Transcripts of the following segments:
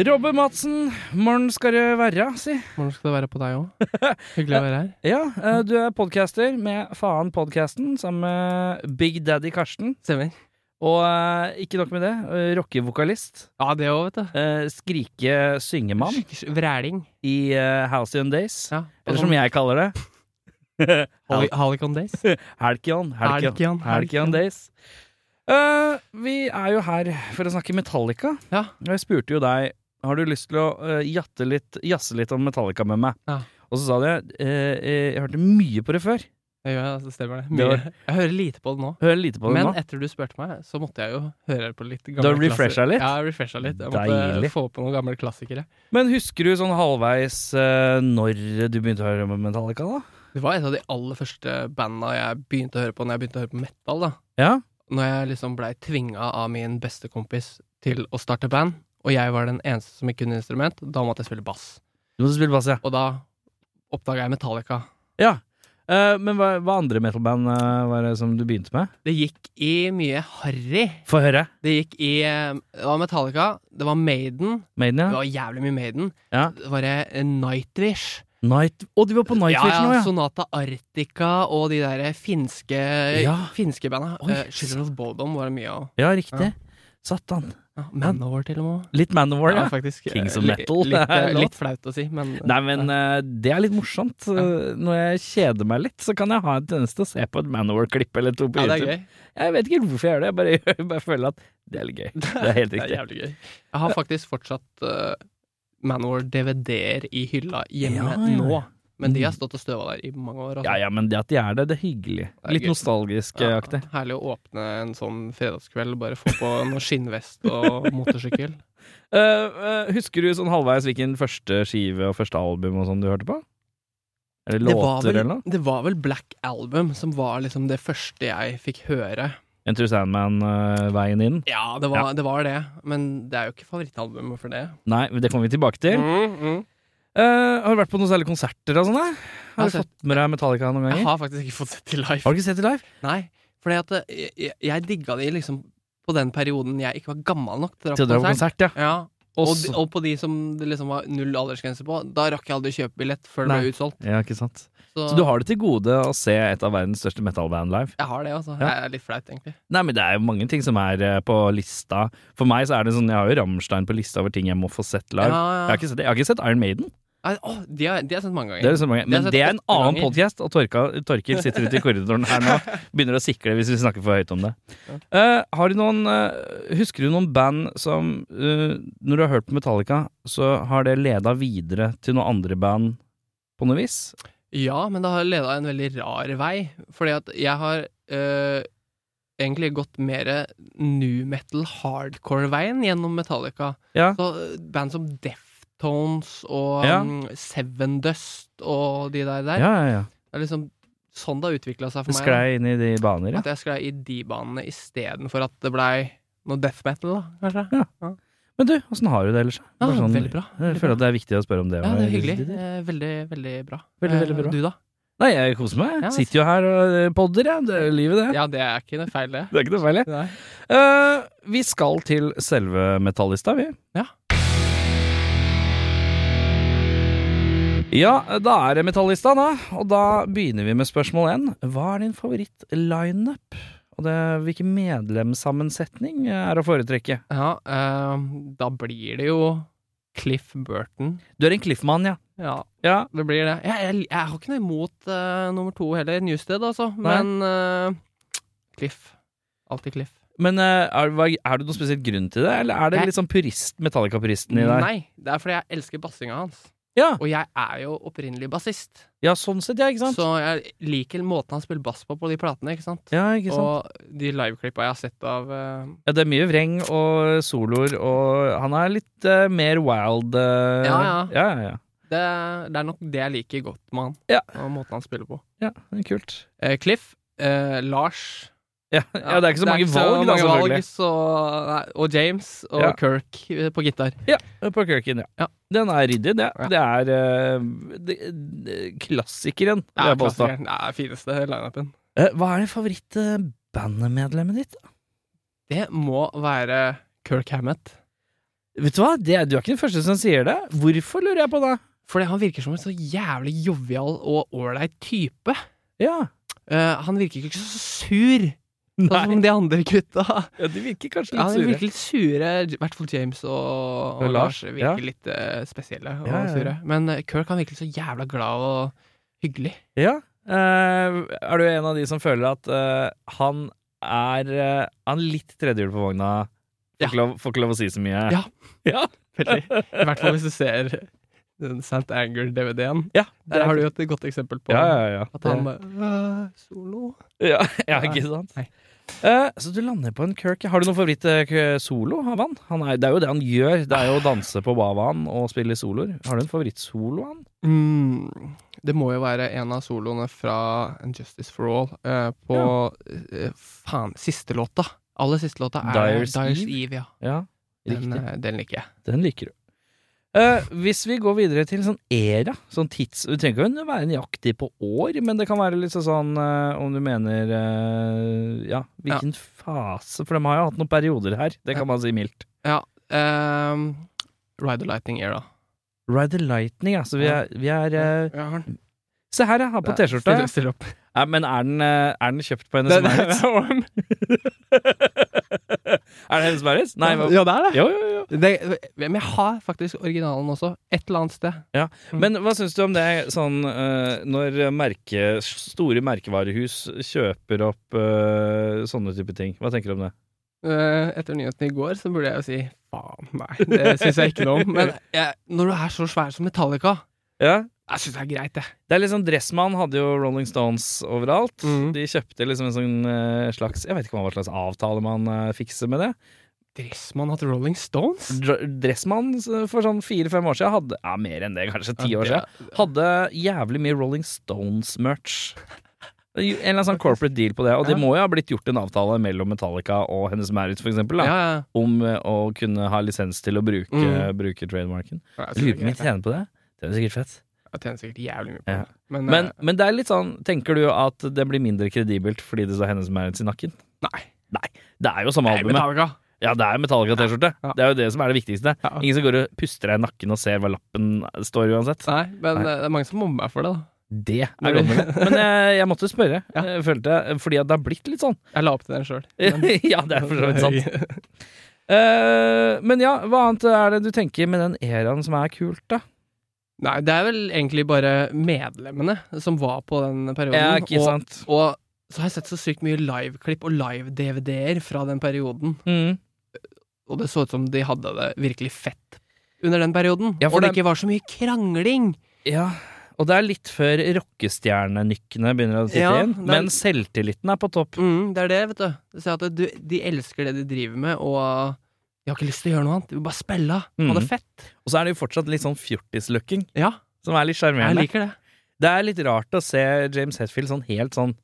Robbe Madsen, morgen skal det være, si. Hvordan skal det være på deg òg? Hyggelig å være her. Ja, eh, du er podcaster med Faen podcasten sammen med Big Daddy Karsten. Stemmer. Og eh, ikke nok med det, eh, rockevokalist, Ja, det òg, vet du. eh, skrike-syngemann Skikkelig Vræling. i eh, Halcyon Days. Ja. Eller som jeg kaller det. Hol- Holicon Days. Halcyon. Halcyon, Halcyon, Halcyon Halcyon. Days. Eh, vi er jo her for å snakke Metallica. Ja. Og jeg spurte jo deg har du lyst til å eh, jatte litt, jazze litt om Metallica med meg. Ja. Og så sa du eh, eh, jeg hørte mye på det før. Det gjør jeg, det stemmer det. Det Mye. var- Jeg hører lite på det nå. Hører lite på det Men nå. etter du spurte meg, så måtte jeg jo høre på litt Du gamle har refreshet litt? Ja, jeg refresha litt. Jeg måtte Deilig. få på noen gamle klassikere. Men husker du sånn halvveis eh, når du begynte å høre om Metallica, da? Det var et av de aller første banda jeg begynte å høre på når jeg begynte å høre på metal. da. Ja? Når jeg liksom blei tvinga av min beste kompis til å starte band, og jeg var den eneste som ikke kunne instrument, da måtte jeg spille bass. Du måtte spille bass, ja. Og da oppdaga jeg Metallica. ja. Eh, men hva, hva andre metalband eh, var det som du begynte med? Det gikk i mye harry. Få høre. Det gikk i eh, Det var Metallica, det var Maiden. Maiden, Det ja? var jævlig mye Maiden. ja. Det var eh, Nightwish. Night Å, du var på Night Vision ja, òg, ja. ja? Sonata Arctica og de der eh, finske Ja. Finske banda. Oi. Eh, Children of Bodom var det mye av. Ja, riktig. Satan. Ja, Manowar til og med. Litt Manowar, ja. faktisk. eh, Kings of li- Metal. Litt, eh, Låt. litt flaut å si, men Nei, men eh, det er litt morsomt. Eh, Når jeg kjeder meg litt, så kan jeg ha en tendens til å se på et Manowar-klipp eller to på ja, det er YouTube. gøy. Jeg vet ikke hvorfor jeg gjør det, jeg bare, jeg bare føler at det er litt gøy. Det er helt Det er riktig. jævlig gøy. Jeg har faktisk fortsatt uh, Manowar-DVD-er i hylla hjemme Ja, Mm. ja. nå. Men de har stått og støva der i mange år. altså. Ja ja, men det at de er der, det er hyggelig. er Litt gøy. Ja, nostalgisk-aktig. herlig å åpne en sånn fredagskveld og bare få på noe skinnvest og motorsykkel. Eh, eh, husker du sånn halvveis hvilken første skive og første album og sånn du hørte på? Eller Det var, låter vel, eller noe? det var vel Black Album som var liksom det første jeg fikk høre. Enter Sandman-veien inn? Ja, det var, Det, var det. Men det er jo ikke favorittalbumet for det. Nei, men det kommer vi tilbake til. Mm, mm. Eh, har du vært på noen særlige konserter og sånn? da? Har du Altså, fått med deg Metallica noen Jeg ganger? har faktisk ikke fått sett til live. Har du ikke sett det live? Nei, fordi at eh, jeg, jeg digga de liksom på den perioden jeg ikke var gammel nok til å Til å dra på konsert, ja. Ja, og, Og de, så- og på de som det liksom var null aldersgrense på. Da rakk jeg aldri kjøpe billett før det Nei. ble utsolgt. ja, ikke sant. Så du har det til gode å se et av verdens største metalband live? Jeg har det, altså. Ja. Jeg er litt flaut, egentlig. Nei, men det er jo mange ting som er eh, på lista. For meg så er det sånn, jeg har jo Rammstein på lista over ting jeg må få sett live. Ja, ja. Jeg, har ikke sett, det. jeg har ikke sett Iron Maiden. Nei, Åh, de, har, de har sendt mange Det er ganger. det samme. Det Men har jeg det er sett en åtte annen ganger. podkast, og Torka- Torkil sitter ute i korridoren her nå. Begynner å sikle hvis vi snakker for høyt om det. Eh, har du noen, eh, husker du noen band som eh, Når du har hørt på Metallica, så har det leda videre til noen andre band på noe vis? Ja, men det har leda en veldig rar vei. Fordi at jeg har øh, egentlig gått mer new metal hardcore-veien gjennom Metallica. Ja. Så øh, band som Deftones og Ja. mm, Seven Dust og de der der. Ja, ja, ja. Det er liksom sånn det har utvikla Det seg for meg. da. sklei inn i de baner, ja. At jeg sklei i de banene istedenfor at det blei noe death metal, da, kanskje. Men du, åssen har du det ellers? Ja, Bare sånn- Ah, veldig bra. Jeg føler at det er viktig å spørre om det. Ja, det er også. hyggelig. Eh, Veldig, veldig bra. Veldig, veldig bra. Eh, Du, da? Nei, jeg koser meg. Ja. Jeg Sitter jo her og eh, podder, ja. Det er jo livet, det. Ja, det er ikke noe feil, det. Det er ikke noe feil, jeg. Nei. Eh, vi skal til selve metallista, vi. Ja. Ja, da er det metallista, da. Og da begynner vi med spørsmål én. Hva er din favoritt-lineup? Og det, hvilken medlemssammensetning er å foretrekke? Ja, eh, da blir det jo Cliff Burton. Du er en Cliff-mann, ja. Ja, ja. det blir det. Jeg, jeg, jeg har ikke noe imot eh, nummer to heller, Newsted, altså. Nei. Men eh, Cliff. Alltid Cliff. Men eh, er, hva- er det noen spesiell grunn til det, eller er det Jeg- litt sånn purist, Metallica-puristen i deg? Nei, det er fordi jeg elsker bassinga hans. Ja. Og jeg er jo opprinnelig bassist, Ja, sånn sett, ja, ikke sant? så jeg liker måten han spiller bass på på de platene, ikke sant? Ja, ikke sant? Og de liveklippa jeg har sett av eh, Ja, det er mye vreng og soloer, og han er litt eh, mer wild. eh, Ja, ja. ja, ja, ja. det, det er nok det jeg liker godt med han, Ja. og måten han spiller på. Ja, det er kult. Eh, Cliff, eh, Lars Ja, ja, det er ikke så mange ikke så valg, da, mange valg, selvfølgelig. så- nei, og James og Ja. Kirk eh, på gitar. På Kirken, ja. Ja. Den er ryddig, det. Ja. Det er eh, det, det, klassikeren. vil Det er jeg påstå. klassikeren. Det er fineste lineupen. Eh, Hva er det favoritt-bandmedlemmet ditt? Det må være Kirk Hammett. Vet du hva, det, er- du er ikke den første som sier det. Hvorfor, lurer jeg på det? Fordi han virker som en så jævlig jovial og ålreit type. Ja. Eh, han virker ikke så sur, sånn Nei, som de andre gutta. ja, de virker kanskje Ja, litt de sure. virker litt sure. I hvert fall James og, og Og Lars, Lars ja. virker litt eh, spesielle og Ja, ja, ja. sure. Men eh, Kirk han virker så jævla glad og hyggelig. Ja. Eh, er du en av de som føler at eh, han er eh, Han litt tredjehjul på vogna? Får, Ja. ikke lov, får ikke lov å si så mye? Ja. Ja, Veldig. I hvert fall hvis du ser den Sant Anger-DVD-en. ja, Der har du jo et godt eksempel på ja, ja, ja. at han bare «Øh, Solo. ja, ja, ikke sant? Nei. Eh, så du lander på en Kirk. ja. Har du noen favoritt-solo av han? han er, det er jo det han gjør. Det er jo å danse på bavaen og spille soloer. Har du en favorittsolo av han? Mm, det må jo være en av soloene fra And Justice for All eh, på eh, Faen, siste låta. Aller siste låta er Dyer's Dyers, Eve. Eve. ja. Ja, Den, riktig. eh, den liker jeg. Den liker du. Eh, hvis vi går videre til sånn era, sånn tids Du trenger ikke å være nøyaktig på år, men det kan være litt sånn eh, om du mener eh, Ja, hvilken fase For de har jo hatt noen perioder her, det Ja. kan man si mildt. Um, Ride the Lightning Era. Ride the Lightning, ja. Så vi er, vi er eh, Se her, jeg har på T-skjorta. Still, still opp. Nei, men er den, eh, er den kjøpt på Den- hennes Maurits? er det hennes Maurits? Nei, hva? ja, det er det. Jo, jo, jo. det. Men jeg har faktisk originalen også. Et eller annet sted. Men hva syns du om det sånn eh, når merke, store merkevarehus kjøper opp eh, sånne type ting? Hva tenker du om det? Eh, etter nyheten i går så burde jeg jo si faen, nei. Det syns jeg ikke noe om. Men jeg, når du er så svær som Metallica, Ja. jeg syns det er greit, det. Det er liksom Dressmann hadde jo Rolling Stones overalt. Mhm. De kjøpte liksom en sånn eh, slags Jeg vet ikke hva slags avtale man eh, fikser med det. Dressmann hatt Rolling Stones? Dr Dressmann eh, for sånn fire-fem år siden hadde Ja, mer enn det, kanskje Mm. ti år siden. hadde jævlig mye Rolling Stones-merch. En eller annen sånn corporate deal på det, og det Ja. må jo ha blitt gjort en avtale mellom Metallica og hennes Maurits, for eksempel, Ja, da, ja. om eh, å kunne ha lisens til å bruke, Mm. bruke trademarken. Ja, jeg Jeg synes lurer det på om vi er greit, tjener på det. Det er jo sikkert fett. jeg. Jeg tjener sikkert jævlig mye på Ja. det. Men, Men, eh, men det er litt sånn Tenker du at det blir mindre kredibelt fordi det står hennes Maurits i nakken? nei. Det er jo samme Nei, albumet. Metallica. Ja, det er Metallica-T-skjorte. Ja. Det er jo det som er det viktigste. Ja. Ingen som går og puster deg i nakken og ser hva lappen står uansett. Nei, men Nei. eh, det er mange som mobber meg for det, da. Det er Nei, men- godt mulig. Men eh, jeg, jeg måtte spørre, Ja. jeg følte jeg. Fordi at det har blitt litt sånn. Jeg la opp til den sjøl. ja, det er for så vidt sant. Eh, men ja, hva annet er det du tenker med den eraen som er kult, da? Nei, det er vel egentlig bare medlemmene som var på den perioden. Ja, ikke og, sant? og så har jeg sett så sykt mye liveklipp og live-DVD-er fra den perioden. Mm. Og det så ut som de hadde det virkelig fett under den perioden. Ja, for og det det- ikke var så mye krangling. Ja, og det er litt før rockestjernenykkene begynner å sitte Ja, inn, det er- men selvtilliten er på topp. Mm, det er det, vet du. Så at du. De elsker det de driver med, og de har ikke lyst til å gjøre noe annet. De vil bare spille. Ha det Mm. fett. Og så er det jo fortsatt litt sånn fjortislooking, Ja, som er litt jeg sjarmerende. liker det. Det er litt rart å se James Hetfield sånn helt sånn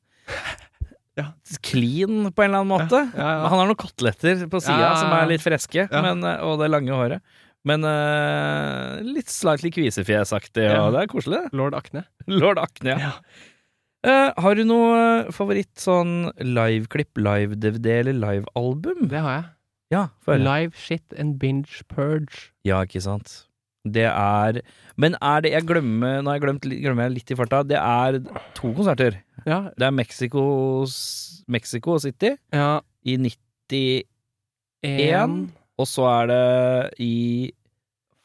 Ja. clean, på en eller annen måte. Ja, ja. Han har noen koteletter på sida Ja. som er litt freske, Ja. men, eh, og det lange håret. Men eh, litt slightly kvisefjesaktig, Ja. og det er koselig. det. Lord Akne. Lord Akne, ja. Eh, har du noe favoritt sånn liveklipp, live-DVD eller livealbum? Det har jeg. Ja, få høre. Live shit and binge purge. Ja, ikke sant. Det er Men er det Jeg glemmer Nå har jeg glemt, li- glemmer jeg litt i farta. Det er to konserter. Ja, Det er Mexicos, Mexico City ja. i 90, En og så er det i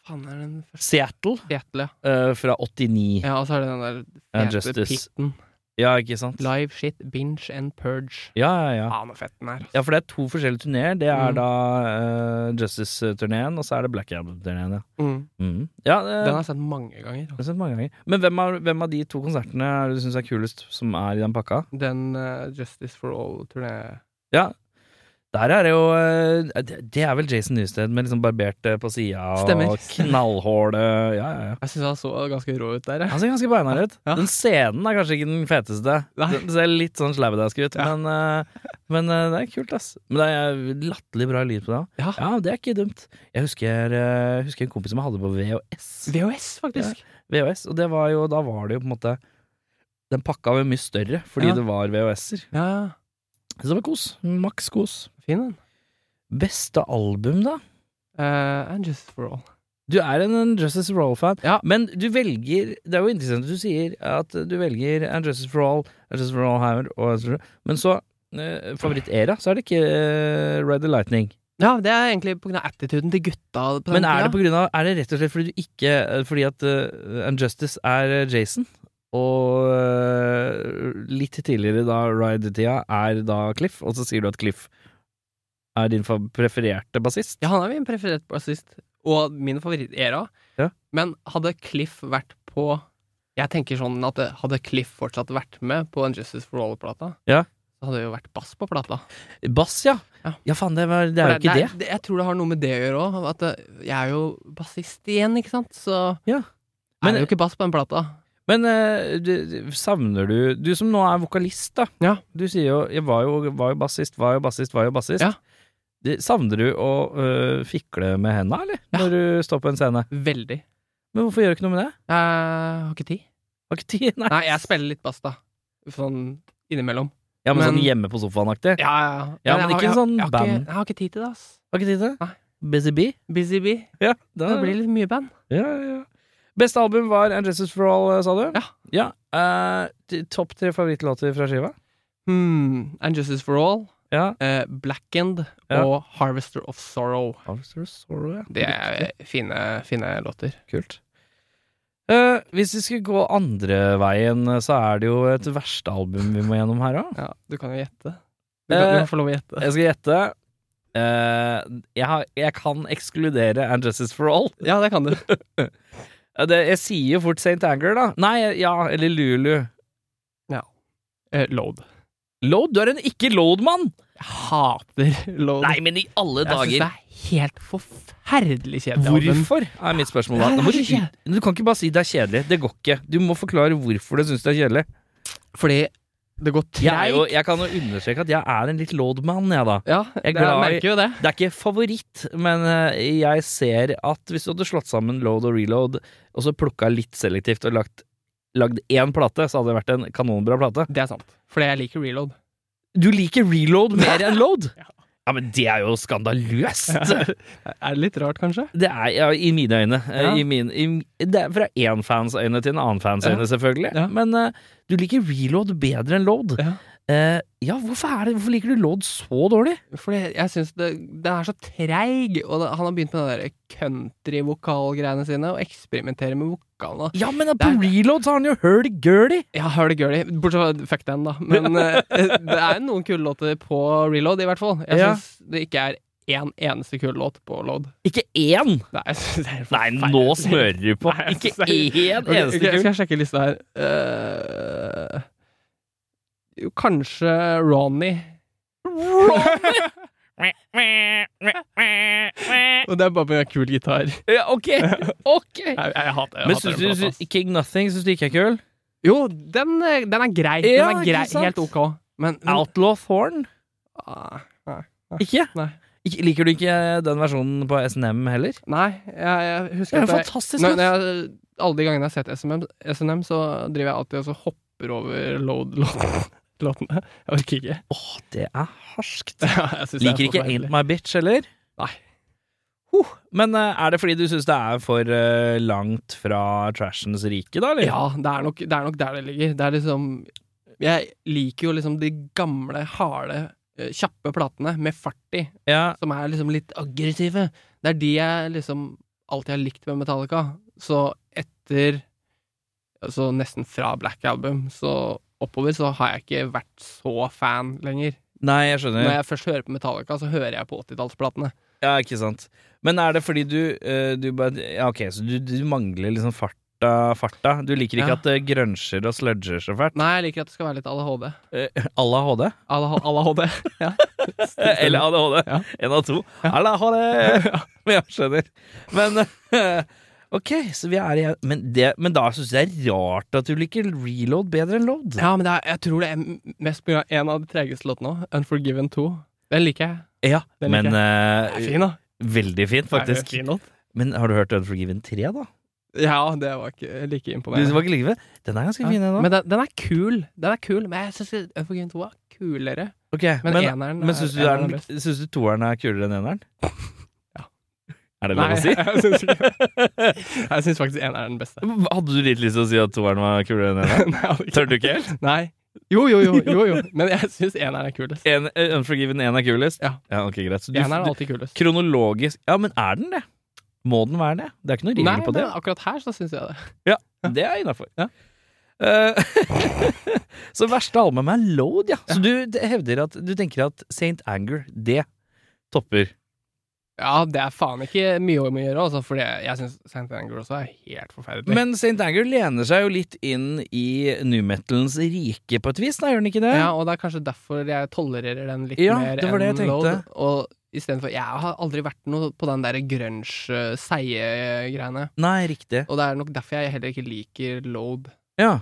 Faen, er den første Seattle fetele? eh, fra 89. Ja, og så er det den der Ja, fete Justice. pitten. Ja, ikke sant? Ja, Live shit, binge and purge. ja, ja. Faen, så fett den er. Ja, for det er to forskjellige turneer. Det er Mm. da eh, Justice-turneen, og så er det Black Jab-turneen, ja. Mm. Mm. ja Den har eh, jeg sett mange ganger. jeg har sett mange ganger. Men hvem av, hvem av de to konsertene er det du syns er kulest, som er i den pakka? Den eh, Justice for All-turné Ja, der er det jo eh, Det det er vel Jason Newsted med liksom barbert eh, på sida Stemmer. og knallhård eh, Ja, ja, ja. Jeg syns han så ganske rå ut der. jeg. Han ser ganske beinhard ut. Ja. Den scenen er kanskje ikke den feteste. Nei. Den ser litt sånn slabbedask ut, Ja. men, eh, men eh, det er kult, ass. Men det er latterlig bra lyd på det òg. Ja. Ja, det er ikke dumt. Jeg husker, eh, husker en kompis som jeg hadde på VHS. VHS, faktisk. VHS, og det var jo, da var det jo på en måte Den pakka var mye større fordi Ja. det var VHS-er. Ja, ja. Så det var kos. Maks kos. Fin den. Beste album, da? Eh, and Justice for All. Du er en, en Justice for All-fan, Ja. men du velger Det er jo interessant at du sier at du velger en Justice for All, en Justice for All Hammer og Men så, eh, favoritt-era, så er det ikke eh, Ride the Lightning. Ja, det er egentlig pga. attituden til gutta. På den Men er det, tida. på grunn av, er det rett og slett fordi du ikke Fordi at eh, Unjustice er eh, Jason, og eh, litt tidligere da Ride-tida er da Cliff, og så sier du at Cliff er din fa- prefererte bassist? Ja, han er min preferert bassist, og min favorittera. Ja. Men hadde Cliff vært på Jeg tenker sånn at det- hadde Cliff fortsatt vært med på en Justice for All-plata, Ja. så hadde det jo vært bass på plata. Bass, ja! Ja. Ja, faen, det, var, det er jo For ikke det. Jeg tror det har noe med det å gjøre òg. At det, jeg er jo bassist igjen, ikke sant? Så Ja. er Men- det jo ikke bass på den plata. Men eh, du, savner du Du som nå er vokalist, da. Ja. Du sier jo 'jeg var jo, var jo bassist, var jo bassist, var jo bassist'. Ja. Det- Savner du å eh, fikle med henda, eller? Ja. Når du står på en scene. Veldig. Men hvorfor gjør du ikke noe med det? Jeg har ikke tid. Har ikke tid, nei. Nei, jeg spiller litt bass, da. Sånn innimellom. Ja, men, men- sånn hjemme på sofaen-aktig? Ja, ja, ja. Ja, jeg men har- ikke jeg har- sånn jeg har ikke- band. Jeg har ikke tid til det, ass. Har ikke tid til det? Nei. Busy Bee? Busy bee. Ja, da, Det blir litt mye band. ja, ja. Beste album var And Justice for All, sa du? Ja. eh, t- Topp tre favorittlåter fra skiva? Hmm, And Justice for All, Ja. eh, Blackened Ja. og Harvester of Sorrow. Harvester Sorrow, ja. Det er fine, fine låter. Kult. Eh, hvis vi skulle gå andre veien, så er det jo et verste album vi må gjennom her òg. Ja, du kan jo gjette. Du kan Eh, jo få lov å gjette. Jeg skal gjette. Eh, jeg, har, jeg kan ekskludere And Justice for All. Ja, det kan du. Eh, Det, jeg sier jo fort St. Anger, da. Nei, ja, eller Lulu. Eh, load. Load? Du er en ikke-load-mann! Jeg hater Load. Nei, men i alle jeg syns det dager! er helt forferdelig kjedelig. album. Hvorfor, er mitt spørsmål da. Nei, Nå må du, det er ikke- ut- du kan ikke bare si det er kjedelig. Det går ikke. Du må forklare hvorfor du syns det er kjedelig. Fordi det går Jeg, er jo, treigt. jeg kan jo understreke at jeg er en litt load-mann, jeg, da. Ja, Jeg er jeg glad i- merker jo det. Det er ikke favoritt, men eh, jeg ser at hvis du hadde slått sammen load og reload, og så plukka litt selektivt og lagt Lagd én plate, så hadde det vært en kanonbra plate. Det er sant. Fordi jeg liker reload. Du liker reload mer enn load? Ja, men det er jo skandaløst! Er det litt rart, kanskje? Det er ja, i mine øyne. eh, Ja. I min, i, det er fra én fans øyne til en annen fans Ja. øyne, selvfølgelig. Ja. Men eh, du liker reload bedre enn load. Ja. Eh, ja, hvorfor, er det, hvorfor liker du load så dårlig? Fordi jeg syns det, det er så treig, og det, han har begynt med de der country-vokalgreiene sine, og eksperimenterer med vokalene. Ja, men på Det er- reload så har han jo høl-gurly! Ja, hør det girly, bortsett fra fuck den, da. Men eh, det er noen kule låter på reload, i hvert fall. Jeg Ja. syns det ikke er én eneste kul låt på load. Ikke én! Nei, jeg synes det er Nei, forferdelig. nå smører du på! Nei, Ikke altså, én Ok, eneste ok, Skal kul! jeg sjekke lista her Eh, Jo, kanskje Ronny. Og det er bare med kul gitar. Jeg, Ja, ok! ok jeg hater jeg Men syns hater den du plata, ass. syns- King Nothing syns du ikke er kul? Jo, den, eh, den er grei. Ja, den er ikke grei, sant? Helt ok. Men, men Outlaw Thorn? Ah, Ikke? Nei. Ikke- Liker du ikke den versjonen på SNM heller? Nei, jeg, jeg Det husker er at en jeg, fantastisk når, låt! når jeg, Alle de gangene jeg har sett SNM, SNM så driver jeg alltid og så hopper over load-låtene. Jeg orker ikke. Åh, det er harskt. Ja, jeg synes det er Liker ikke forferdelig. Ain't My Bitch heller? Nei. Huh. Men eh, er det fordi du syns det er for eh, langt fra trashens rike, da? Eller? Ja, det er, nok, det er nok der det ligger. Det er liksom Jeg liker jo liksom de gamle, harde, eh, kjappe platene med fart i, Ja, som er liksom litt aggressive. Det er de jeg liksom alltid har likt med Metallica. Så etter Altså nesten fra Black Album, så oppover, så har jeg ikke vært så fan lenger. Nei, jeg skjønner. Når jeg først hører på Metallica, så hører jeg på 80-tallsplatene. Ja, ikke sant. Men er det fordi du, eh, du bare Ja, ok, så du, du mangler liksom farta, farta. Du liker ikke Ja. at det grønsjer og sludger så fælt. Nei, jeg liker at det skal være litt ADHD. Eh, Alla HD? Ala- ADHD. ja. Eh, Eller ADHD. Ja. En av to. Alla HD! Men jeg skjønner. Men eh, Ok, så vi er igjen Men, det, men da syns jeg det er rart at du liker reload bedre enn load. Ja, men det er, jeg tror det er mest på grunn av en av de tregeste låtene òg. Unforgiven 2. Den liker jeg. Ja, Den men liker eh, Den er fin, da. Veldig fint, Det er faktisk. en fin låt. Men har du hørt Unforgiven 3, da? Ja, det var ikke Du like som imponerende. var ikke like ved? Den er ganske Ja. fin, den òg. Men den, den er kul. Den er kul, men jeg syns Unforgiven 2 er kulere. Men, eneren Men syns du, eneren er den, best. syns du toeren er kulere enn eneren? Ja. Er det Nei, lov å si? jeg syns ikke det. Jeg syns faktisk eneren er den beste. Hadde du litt lyst til å si at toeren var kulere enn eneren? Nei, jeg hadde ikke- Tør du ikke helt? Nei. Jo, jo, jo, jo, jo. Men jeg syns eneren er kulest. En, eh, Unforgiven 1 er kulest? Ja. ok, greit. Så du, Eneren er du, alltid kulest. kronologisk Ja, men er den det? Må den være det? Det er ikke noe Nei, regel på det. men akkurat her så syns jeg det. Det er innafor. Eh, Ja. så verste albumet er Load, ja. Så du d- hevder at du tenker at St. Anger, det topper. Ja, det er faen ikke mye å gjøre, altså, for jeg syns St. Anger også er helt forferdelig. Men St. Anger lener seg jo litt inn i nu metalens rike på et vis, da, gjør den ikke det? Ja, og det er kanskje derfor jeg tolererer den litt Ja, mer det var det enn jeg load. tenkte. Og istedenfor Jeg har aldri vært noe på den der grunge-seige-greiene. Nei, riktig. Og det er nok derfor jeg heller ikke liker load Ja.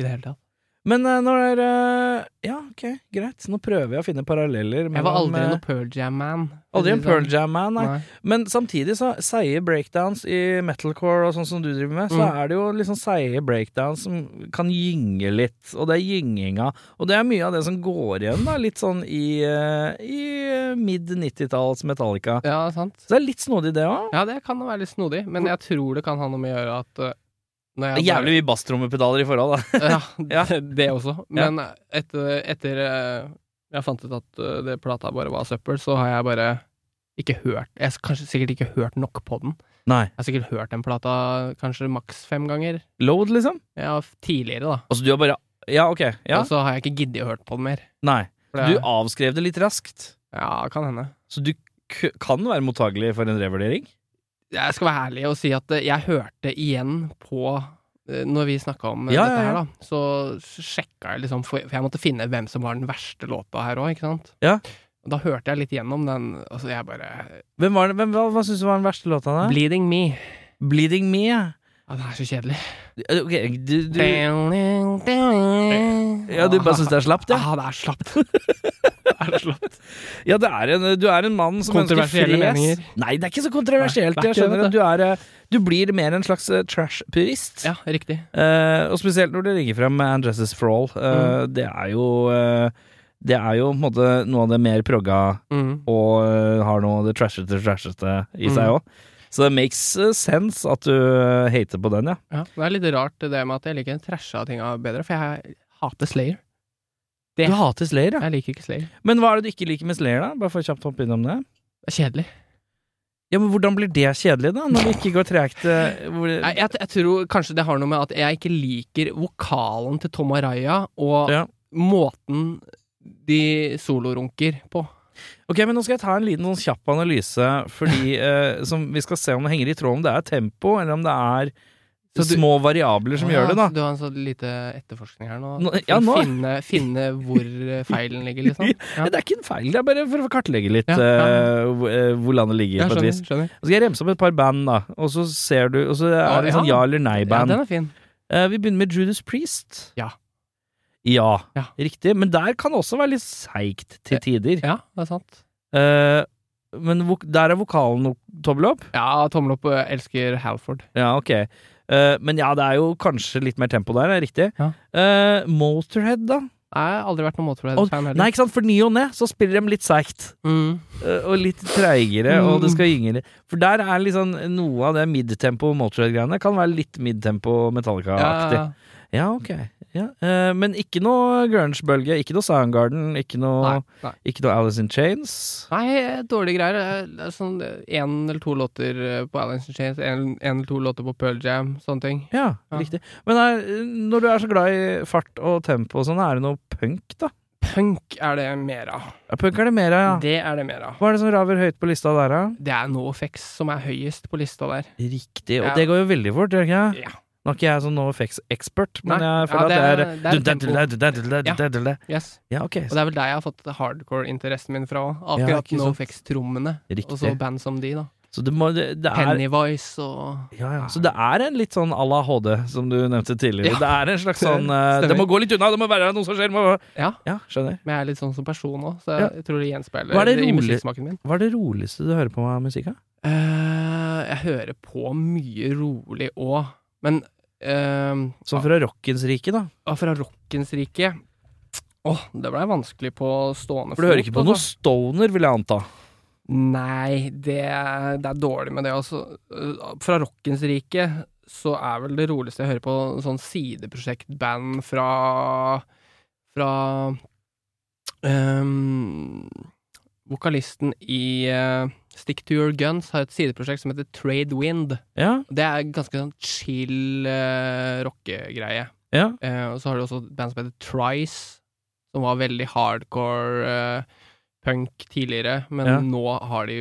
i det hele tatt. Men eh, når det er eh, Ja, ok, greit. Nå prøver jeg å finne paralleller. Jeg var aldri mellom, noe Pearl Jam-man. eh, aldri en Pearl Jam-man, nei. sånn. Nei. Men samtidig så seige breakdowns i metalcore og sånn som du driver med, så Mm. er det jo liksom seige breakdowns som kan gynge litt, og det er gynginga. Og det er mye av det som går igjen, da, litt sånn i, eh, i eh, mid 90-talls Metallica. Ja, sant. Så det er litt snodig, det òg. Ja, det kan være litt snodig, men jeg tror det kan ha noe med å gjøre at uh, når jeg bare- Jævlig mye basstrommepedaler i forhold, da. Ja, Ja. det, det også. Men eh, etter, etter eh, jeg fant ut at eh, det plata bare var søppel, så har jeg bare ikke hørt Jeg har kanskje sikkert ikke hørt nok på den. Nei. Jeg har sikkert hørt den plata kanskje maks fem ganger. Load, liksom? Ja, f- tidligere, da. Altså, du har bare Ja, ok. Ja. Og så har jeg ikke giddet å høre på den mer. Nei. For Du det- avskrev det litt raskt, ja, kan hende. så du k kan være mottagelig for en revurdering? Jeg skal være ærlig og si at eh, jeg hørte igjen på eh, når vi snakka om eh, Ja, dette ja, her, ja. da, så sjekka jeg liksom, for for jeg måtte finne hvem som var den verste låta her òg, ikke sant? Ja. Og Da hørte jeg litt gjennom den, og så jeg bare Hvem var det, hvem, hva hva syns du var den verste låta? da? Bleeding Me. Bleeding Me, ja. Ja, det er så kjedelig. Ok, du, du Ja, du bare syns det er slapt, ja? Ah, det er slapt. Det er slapt. Ja, det er en, du er en mann som ønsker Kontroversielle fres. meninger. Nei, det er ikke så kontroversielt. Nei, det er Jeg ikke det, skjønner at du er eh, Du blir mer en slags eh, trash-purist. Ja, riktig. Eh, og spesielt når det ligger frem And Justice for All. Eh, Mm. Det er jo eh, Det er jo på en måte noe av det mer progga Mm. og eh, har noe av det trashete, trashete i Mm. seg òg. Så det makes eh, sense at du eh, hater på den, ja. Ja. Det er litt rart det med at jeg liker den trasha tinga bedre, for jeg hater Slayer. Det- Du hater Slayer, ja. Jeg liker ikke Slayer. Men hva er det du ikke liker med Slayer, da? Bare for kjapt å hoppe innom det. Det er kjedelig. Ja, men Hvordan blir det kjedelig, da? Når det ikke går tregt? eh, hvor- Nei, jeg, jeg tror kanskje det har noe med at jeg ikke liker vokalen til Tom Araya, og Ja. måten de solorunker på. Ok, men Nå skal jeg ta en liten sånn kjapp analyse, fordi eh, som vi skal se om det henger i tråd om det er tempo, eller om det er Så du- små variabler som gjør det. da Du har en sånn lite etterforskning her nå, Nå- for ja, nå- å finne, finne hvor eh, feilen ligger, liksom. Ja. Det er ikke en feil, det er bare for å kartlegge litt Ja, ja. eh, hvor- eh, hvor landet ligger. Ja, på et vis skjønner. skjønner. Så skal jeg remse opp et par band, da, og så ser du Og så Ja, er det sånn ja. ja eller nei-band. Ja, den er fin. Eh, vi begynner med Judas Priest. Ja. Ja, Ja. riktig. Men der kan det også være litt seigt til tider. Ja, det er sant. Eh, men vok der er vokalen no- tommel opp. Ja, tommel opp. eh, Elsker Halford. Ja, ok. Eh, men ja, det er jo kanskje litt mer tempo der, er det riktig. Ja. Eh, Motorhead, da? Jeg har aldri vært noen Og- Motorhead-fan heller. Nei, ikke sant, for ny og ned så spiller de litt seigt. Mm. eh, og litt treigere, Mm. og det skal gyngere. For der er sånn, liksom noe av det midtempo Motorhead-greiene kan være litt midtempo Ja, Metallica-aktig. ja. Ja, ok. Ja. eh, men ikke noe grunge-bølge, ikke noe Soundgarden, ikke noe, nei. ikke noe Alice in Chains. Nei, dårlige greier. Det er sånn én eller to låter eh, på Alice in Chains, én eller to låter på Pearl Jam, sånne ting. Ja, Ja. riktig. Men er, når du er så glad i fart og tempo og sånn, er det noe punk, da? Punk er det mer av. Ja, punk er det mer av, ja. Det er det mer av. Hva er det som raver høyt på lista der, da? Det er NoFX som er høyest på lista der. Riktig. Og Ja. det går jo veldig fort, gjør det ikke? Ja. Nå er ikke jeg sånn NoFX-ekspert, men Nei. jeg Ja, føler det er- at det er det er du-du-du-du-du-du-du-du-du-du-du. Yes. Ja, ok. Og det er vel der jeg har fått hard core-interessen min fra òg. Ja, Akkurat ikke sant. NoFX-trommene, og så Riktig. band som de, da. Så det må det, det er Pennyvoice og ja, ja. Så det er en litt sånn à la HD, som du nevnte tidligere. Ja. Det er en slags sånn eh, Stemmer. Det må gå litt unna, det må være noe som skjer. Må... Ja. Ja, skjønner. Men jeg er litt sånn som person òg, så Ja. jeg tror det gjenspeiler Hva er det i rolig- musikksmaken min. Hva er det roligste du hører på av musikk? da? Eh, jeg hører på mye rolig òg, men eh, Sånn fra rockens rike, da. ja, fra rockens rike Åh, det blei vanskelig på stående For du hører ikke på noe altså. stoner, vil jeg anta. Nei, det, det er dårlig med det, altså. Eh, Fra rockens rike så er vel det roligste jeg hører på sånn sideprosjektband fra Fra ehm, Vokalisten i eh, Stick to Your Guns har et sideprosjekt som heter Trade Wind. Ja, Det er ganske sånn chill eh, rockegreie. ja. Eh, og så har du også et band som heter Trice, som var veldig hardcore eh, punk tidligere, men Ja. nå har de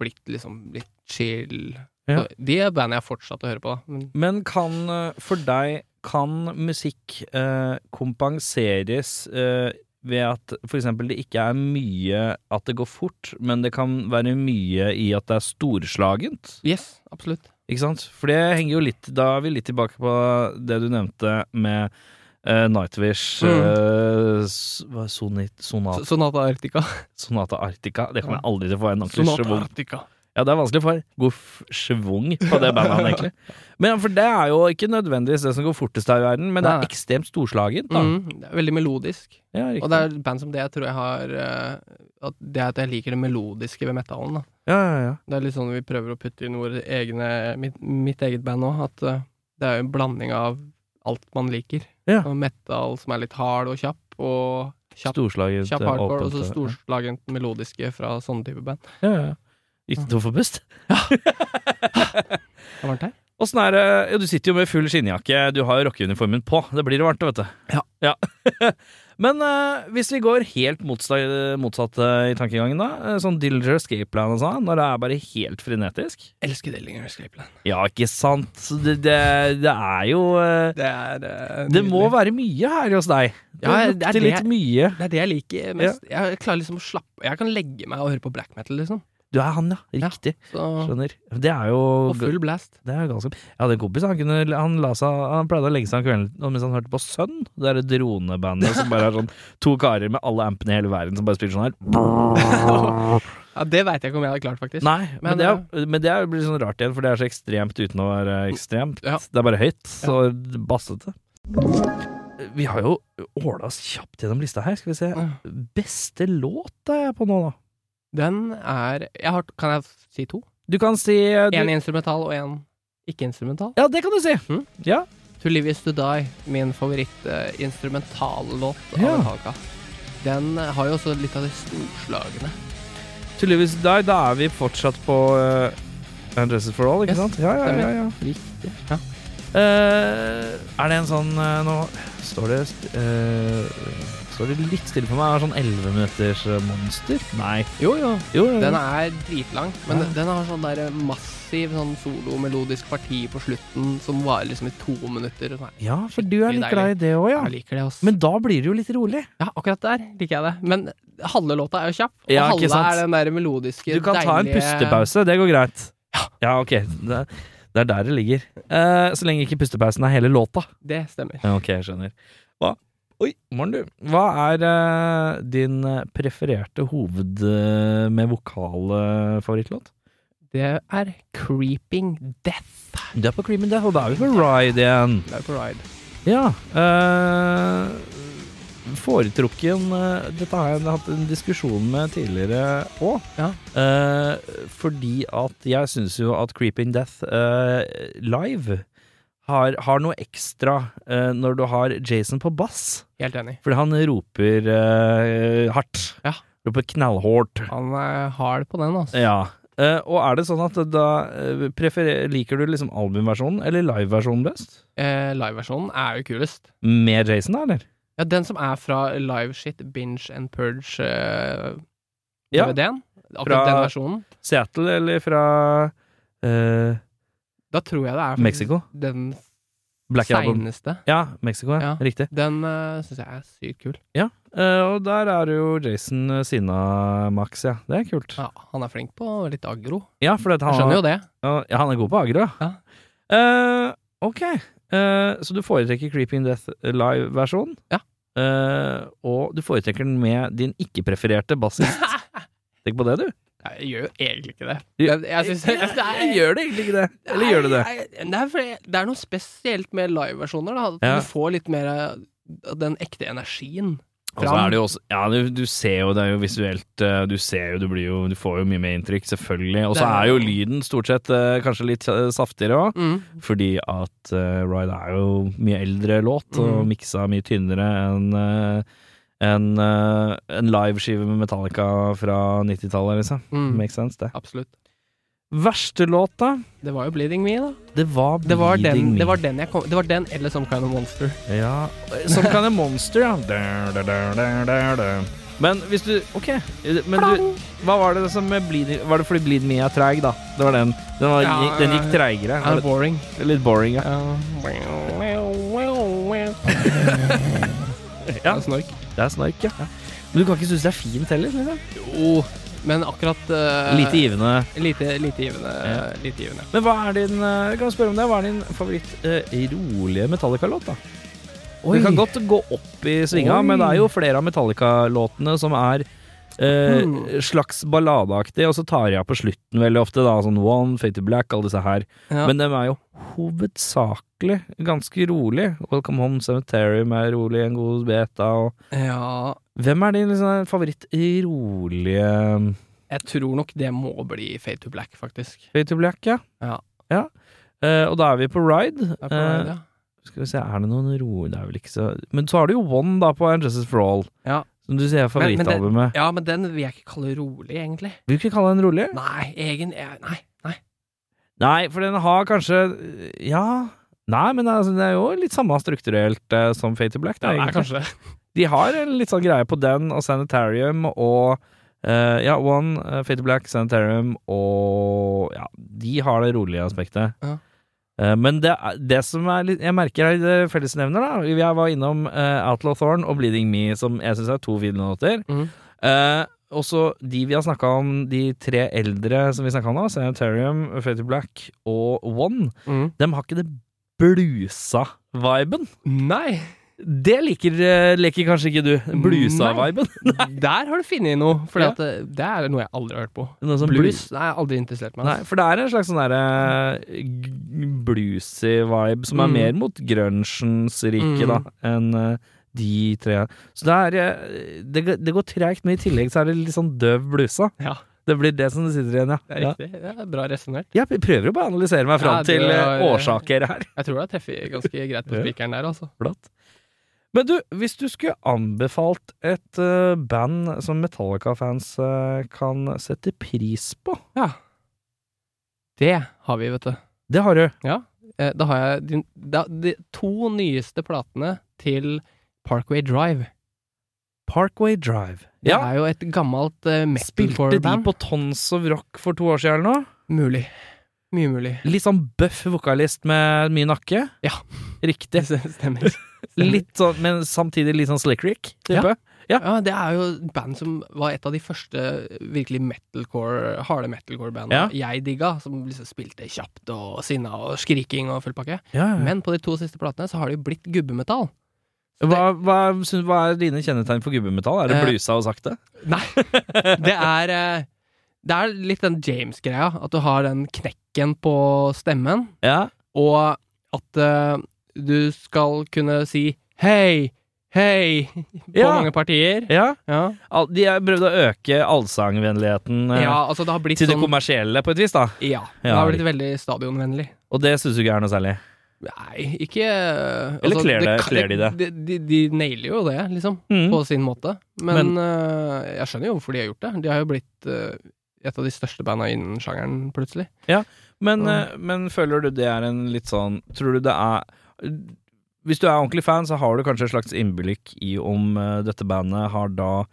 blitt liksom litt chill. Ja. Så de er bandene jeg har fortsatt å høre på, da. Men Men kan eh, for deg Kan musikk eh, kompenseres eh, ved at for eksempel det ikke er mye at det går fort, men det kan være mye i at det er storslagent? yes, absolutt. Ikke sant? For det henger jo litt Da er vi litt tilbake på det du nevnte med eh, Nightwish Mm. eh, s- hva er soni- sonat, Så- Sonata Arctica. Sonata Arctica. Det kommer jeg aldri til å få en ordentlig Sonata schwung. Arctica. Ja, det er vanskelig å få en god f- schwung på det bandet, han, egentlig. Men for det er jo ikke nødvendigvis det som går fortest her i verden, men det Nei. er ekstremt storslagent, da. Mm, det er veldig melodisk. Ja, Og det er band som det jeg tror jeg har eh, At det at jeg liker det melodiske ved metallen, da. ja, ja, ja. Det er litt sånn vi prøver å putte inn våre egne Mitt, mitt eget band òg, at eh, det er jo en blanding av alt man liker. Ja. Og metal som er litt hard og kjapp, og kjapp, Storslagent. kjapp eh, hardcore, åpent, og så eh, storslagent melodiske fra sånne type band. Ja, ja. ja. Gikk det tom for pust? Det er varmt her? Åssen er det ja, Du sitter jo med full skinnjakke, du har jo rockeuniformen på. Det blir varmt, vet du. Ja. Men eh, hvis vi går helt motsta- motsatt eh, i tankegangen, da. eh, Sånn Dillinger Escape Plan og sånn, når det er bare helt frenetisk. Elsker Dillinger Escape Plan. Ja, ikke sant? Så Det, det, det er jo eh, Det er eh, Det må nydelig. være mye her hos deg. Det Ja, det er lukter litt det- mye. Det er det jeg liker mest. Jeg klarer liksom å slappe Jeg kan legge meg og høre på black metal, liksom. Du er han, ja. Riktig. Så, Skjønner. Det er jo og full blast. Det er jo ganske Jeg hadde en kompis, han, kunne, han, la seg, han pleide å legge seg om kvelden og mens han hørte på Sønn. Det derre dronebandet som bare er sånn to karer med alle ampene i hele verden som bare spiller sånn her. Ja, det veit jeg ikke om jeg hadde klart, faktisk. Nei, men, Men, eh, det, er, men det er jo blir sånn rart igjen, for det er så ekstremt uten å være ekstremt. Ja. Det er bare høyt og bassete. Vi har jo åla oss kjapt gjennom lista her, skal vi se. Beste låt er jeg på nå, da. Den er jeg har, Kan jeg si to? Du kan si eh, du, Én instrumental og én ikke-instrumental. Ja, det kan du si. Mm. Ja. To Live Is To Die, min favoritt-instrumentallåt Ja. av Metallica. Den eh, har jo også litt av de storslagene. To Live Is To Die, da er vi fortsatt på eh, And Justice For All, ikke Yes, sant? Ja, ja, stemmer. ja, ja. Riktig. Ja. Eh, er det en sånn eh, Nå står det st- eh, Står det litt stille for meg. Er det sånn 11 minutters eh, monster? Nei. Jo, jo. Jo, jo, jo. Den er dritlang, men Ja. den- den har sånn der eh, massiv sånn solomelodisk parti på slutten som varer liksom i to minutter. Nei, Ja, for du er Skikkelig litt glad i det òg, ja. Jeg liker det, ass. Men da blir det jo litt rolig. ja, akkurat der liker jeg det. Men halve låta er jo kjapp, og Ja, ikke halve sant? er den der melodiske, Du kan ta en deilige- pustepause. Det går greit. Ja, ok. Det, det er der det ligger. Eh, så lenge ikke pustepausen er hele låta. Det stemmer. Ja, ok, jeg skjønner. Hva? Oi, morgen du. Hva er eh, din eh, prefererte hoved eh, med vokal eh, favorittlåt? Det er Creeping Death. Du er på Cream and Death, og da er vi på Ride igjen. Det er på Ride. Ja. eh, foretrukken eh, Dette har jeg hatt en diskusjon med tidligere òg. Ja. fordi at jeg syns jo at Creeping Death eh, live har, har noe ekstra eh, når du har Jason på bass. Helt enig. Fordi han roper eh, hardt. Ja. Roper knallhårt. Han er hard på den, altså. Ja. Eh, og er det sånn at da eh, preferer, Liker du liksom albumversjonen eller liveversjonen best? Eh, Liveversjonen er jo kulest. Med Jason, da, eller? Ja, den som er fra Live Shit, Binge and Purge-DVD-en. Ja. Fra- Akkurat den versjonen. Seattle eller fra eh, Da tror jeg det er faktisk Mexico? den Black Album? seineste. Ja, Mexico, ja. Ja. Riktig. Den uh, syns jeg er sykt kul. Eh, og der er jo Jason eh, Sina Max, ja. Det er kult. Ja, han er flink på litt agro. Ja, for at Jeg han, skjønner jo det. Ja, ja, han er god på agro, Ja. Eh, ok, Eh, så du foretrekker Creepy in Death live-versjonen? Ja. Eh, og du foretrekker den med din ikke-prefererte bassist. Tenk på det, du. Jeg gjør jo egentlig ikke det. Jo, Jeg, jeg synes, Jeg gjør det egentlig ikke det. Eller gjør du det? Nei, nei, Det er, fordi- det er noe spesielt med liveversjoner. da. At Ja. Du får litt mer eh, den ekte energien. Og så er det jo også Ja, du, du ser jo, det er jo visuelt eh, Du ser jo, du blir jo Du får jo mye mer inntrykk, selvfølgelig. Og så Det er- er jo lyden stort sett eh, kanskje litt eh, saftigere òg. Mm. Fordi at eh, Ride er jo mye eldre låt, og Mhm. miksa mye tynnere enn eh, enn, eh, en liveskive med Metallica fra 90-tallet, liksom. Mm. Makes sense, det. Absolutt. Verste låt, da? Det var jo 'Bleeding Me', da. Det var Det var den, Bleeding det var Me. den jeg kom Det var den eller Some Kind of Monster. Ja. Som kan en monster, ja. Da, da, da, da, da, da. Men hvis du OK. Men du, hva var det som med Bleeding Var det fordi Bleed Me er treig, da? Det var den. Den, var, Ja, den gikk treigere. Er det boring? Litt boring, ja. Ja. altså, Ja. Snork. Det er snork, ja. Men du kan ikke synes det er fint heller? Liksom. Jo, Oh, men akkurat eh, Lite givende. Lite, lite givende. Ja. Lite givende. Men hva er din eh, Kan jeg spørre om det? Hva er din favoritt eh, rolige Metallica-låt, da? Oi. Du kan godt gå opp i svinga, Oi. men det er jo flere av Metallica-låtene som er eh, Mm. slags balladeaktig, og så tar jeg av på slutten veldig ofte, da. Sånn One, Fate to Black, alle disse her. Ja. Men dem er jo hovedsakelig ganske rolig. Welcome Home Cemetery er rolig, en god beta og ja, Hvem er din liksom, favoritt i rolige jeg tror nok det må bli Fade to Black, faktisk. Fate to Black, ja? Ja. Eh, og da er vi på Ride. Eh, Det er på vei, ja. Skal vi se, er det noen ro... Det er vel ikke så Men så har du jo One da på And Justice for All. Ja. Som du sier er Men- men det- favorittalbumet. ja, men den vil jeg ikke kalle rolig, egentlig. Vil du ikke kalle den rolig? Nei, egen jeg- Nei. nei. Nei, for den har kanskje Ja. Nei, men altså, det er jo litt samme strukturelt eh, som Fate to Black. Da, det er egentlig. kanskje det. De har en litt sånn greie på den og Sanitarium og eh, Ja, One, eh, Fate to Black, Sanitarium og Ja, de har det rolige aspektet. Ja. Eh, men det, er- det som er litt Jeg merker er det fellesnevner, da. Jeg var innom eh, Outlaw Thorn og Bleeding Me, som jeg syns er to fine låter. Mhm. Eh, og så de vi har snakka om, de tre eldre som vi snakka om nå, Sanitarium, Fate to Black og One, Mm. dem har ikke det blusa-viben. Nei! Det liker, eh, liker kanskje ikke du. Blusa-viben. Der har du funnet noe, for Ja. det, det er noe jeg aldri har hørt på. Noe som Blues nei, jeg har aldri interessert meg. Nei, altså. for det er en slags sånn derre eh, g- bluesy vibe som er Mm. mer mot grunchens rike, da, enn eh, de tre. Så det er eh, Det, går- det går treigt, men i tillegg så er det litt sånn døv blusa. Ja. Det blir det som sitter igjen, ja. Det er ja. riktig. Det er bra resonnert. Jeg prøver å bare analysere meg fram Ja, du til eh, har- årsaker her. Jeg tror jeg treffer ganske greit på Ja. spikeren der, altså. Flott. Men du, hvis du skulle anbefalt et eh, band som Metallica-fans eh, kan sette pris på Ja. Det har vi, vet du. Det har du. Eh, Da har jeg de, da, de to nyeste platene til Parkway Drive. Parkway Drive. Det er jo et gammelt uh, Spilte de metalcore-band. på Tons of Rock for to år siden eller noe? Mulig. Mye mulig. Litt sånn bøff vokalist med mye nakke. Ja. Riktig. stemmer. Litt sånn, men samtidig litt sånn slick rick. Type. Ja, det er jo et band som var et av de første virkelig metalcore, harde metalcore-bandene jeg digga, som liksom spilte kjapt og sinna og skriking og full pakke. Ja. Men, Men på de to siste platene så har det jo blitt gubbemetall. hva, hva, syns- hva er dine kjennetegn for gubbemetall? Er det Eh. blusa og sakte? Nei, det er eh, Det er litt den James-greia, at du har den knekken på stemmen, Ja. og at eh, du skal kunne si hei, hei på Ja. mange partier. ja. Ja. Al- De har prøvd å øke allsangvennligheten eh, ja, altså det har blitt til det sånn kommersielle på et vis, da. Ja. Det Ja, har blitt veldig stadionvennlig. Og det syns du ikke er noe særlig. Nei, ikke eh, Eller kler det- kler de det? De, de, nailer jo det, liksom, Mm. på sin måte. Men, eh, jeg skjønner jo hvorfor de har gjort det. De har jo blitt eh, et av de største banda innen sjangeren, plutselig. Men, Ja. eh, men føler du det er en litt sånn Tror du det er Hvis du er ordentlig fan, så har du kanskje et slags innblikk i om eh, dette bandet har da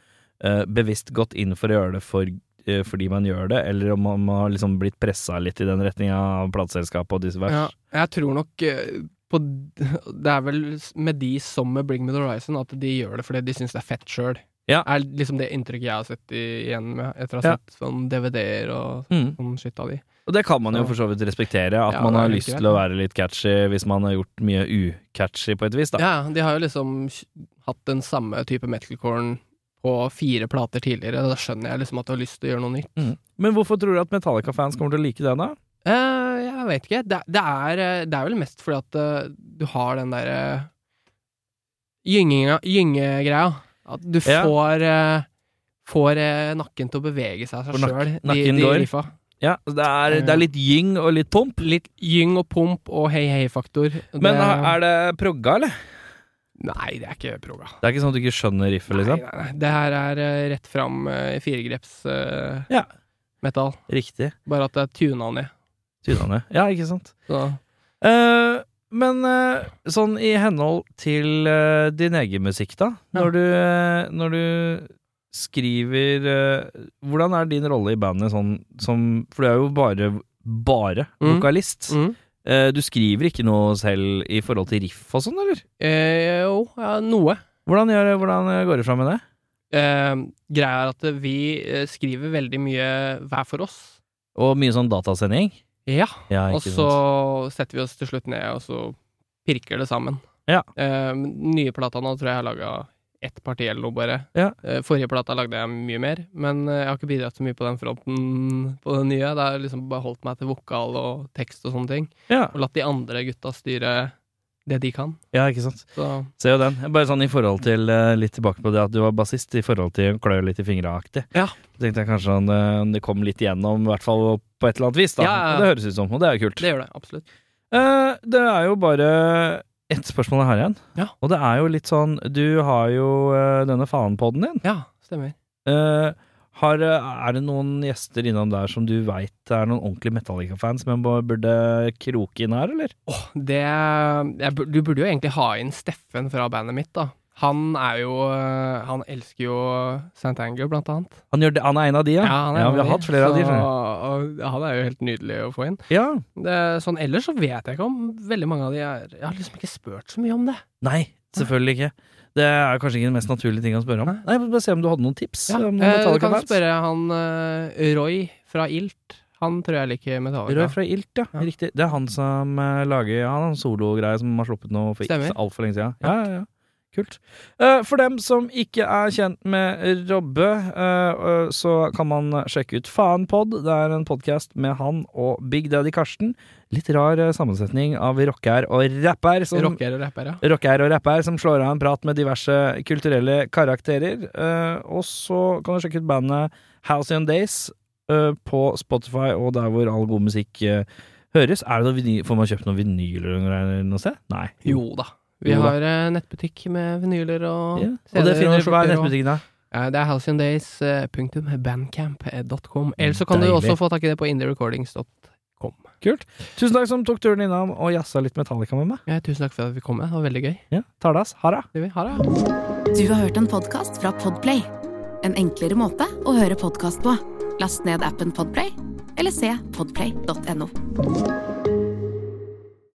eh, bevisst gått inn for å gjøre det for, eh, fordi man gjør det, eller om man har liksom blitt pressa litt i den retninga av plateselskapet og disse vers. Ja, jeg tror nok eh, på Det er vel med de som med Bring Me The Horizon at de gjør det fordi de syns det er fett sjøl. Ja. Er liksom det inntrykket jeg har sett i, igjen med, etter å ha Ja. sett sånn DVD-er og Mm. sånn shit av de. Og det kan man jo Så- for så vidt respektere, at Ja, man det er har helt lyst greit, til å være litt catchy hvis man har gjort mye ucatchy på et vis, da. Ja, de har jo liksom hatt den samme type metalcore på fire plater tidligere, da skjønner jeg liksom at du har lyst til å gjøre noe nytt. Men hvorfor tror du at Metallica-fans kommer til å like det, da? Eh, jeg vet ikke. Det, det, er, eh, det er vel mest fordi at eh, du har den derre gyngegreia. At du Ja. får, eh, får eh, nakken til å bevege seg av Hvor seg nak- sjøl. nakken går. Ja, altså, det er, det er litt gyng og litt pomp. Eh. Litt gyng og pump og hei-hei-faktor. Men er det progga, eller? Nei, det er ikke proga. Det er ikke sånn at du ikke skjønner riffet, Nei, liksom? nei, nei. Det her er eh, rett fram eh, firegreps eh, Ja. metal. Riktig. Bare at det er tuna ned. Tydene. Ja, ikke sant. Så. Eh, men eh, sånn i henhold til eh, din egen musikk, da. Ja. Når du, eh, når du skriver eh, Hvordan er din rolle i bandet sånn som For du er jo bare, bare Mm. vokalist. Eh, du skriver ikke noe selv i forhold til riff og sånn, eller? Eh, jo, ja, noe. Hvordan, gjør, hvordan går det fram med det? Eh, greia er at vi eh, skriver veldig mye hver for oss. Og mye sånn datasending? Ja. Ja, Og ikke så sant. setter vi oss til slutt ned, og så pirker det sammen. Ja. Eh, nye plata nå tror jeg jeg har laga ett parti eller noe, bare. Ja. Eh, forrige plata lagde jeg mye mer, men eh, jeg har ikke bidratt så mye på den fronten på den nye. Det har liksom bare holdt meg til vokal og tekst og sånne ting. Ja. Og latt de andre gutta styre det de kan. ja, ikke sant. Så Se jo den. Bare sånn i forhold til eh, Litt tilbake på det at du var bassist, i forhold til klø litt i fingra-aktig. Ja. Tenkte jeg kanskje han, eh, om det kom litt igjennom, i hvert fall på et eller annet vis, da. Ja, ja, ja. Det høres ut som, og det er jo kult. det gjør det, absolutt. Eh, det er jo bare ett spørsmål jeg har igjen, Ja. og det er jo litt sånn Du har jo eh, denne faen-podden din. Ja, stemmer. Eh, har, eh, er det noen gjester innom der som du veit er noen ordentlige Metallica-fans, men bare burde kroke inn her, eller? Det, jeg, bur- du burde jo egentlig ha inn Steffen fra bandet mitt, da. Han er jo øh, Han elsker jo St. Anger, blant annet. Han, gjør det, han er en av de, ja? han er en vi har av de, hatt flere av de. så- skjønner og Han er jo helt nydelig å få inn. jeg. Ja. Det, sånn ellers så vet jeg ikke om veldig mange av de er Jeg har liksom ikke spurt så mye om det. Nei, selvfølgelig ikke. Det er kanskje ikke den mest naturlige ting å spørre om. Nei. Nei, men Bare se om du hadde noen tips. Ja. om noen Eh, du kan Metallica-fans. spørre han øh, Roy fra Ilt. Han tror jeg liker Metallica. Roy fra Ilt, ja. Ja. Riktig. Det er han som eh, lager ja, han har en sologreie som har sluppet noe for ikke så Stemmer. altfor lenge siden. Ja, ja, ja. Kult. Eh, for dem som ikke er kjent med Robbe, eh, eh, så kan man sjekke ut Faenpod. Det er en podkast med han og Big Daddy Karsten. Litt rar eh, sammensetning av rocker og rapper. Som Rocker og rapper, ja. rocker og rapper som slår av en prat med diverse kulturelle karakterer. Eh, og så kan du sjekke ut bandet Halcyon Days eh, på Spotify og der hvor all god musikk eh, høres. Er det noe vinyl, får man kjøpt noen vinyler eller noe greier noe sted? Nei. Jo da. Vi Jo da. har eh, nettbutikk med vinyler og Ja. Og det CD-er finner du på skjorter og- nettbutikken, da. Eh, Det er eh, halcyondays.bandcamp.com. Eller så kan Deilig. du også få tak i det på indierecordings.com. Tusen takk som tok turen innom og jazza litt Metallica med meg. Ja, tusen takk for at vi kom. Det var veldig gøy. Ja. Tar det, ass. Ha det. Det vi har, ja. Du har hørt en podkast fra Podplay. En enklere måte å høre podkast på. Last ned appen Podplay, eller se podplay.no.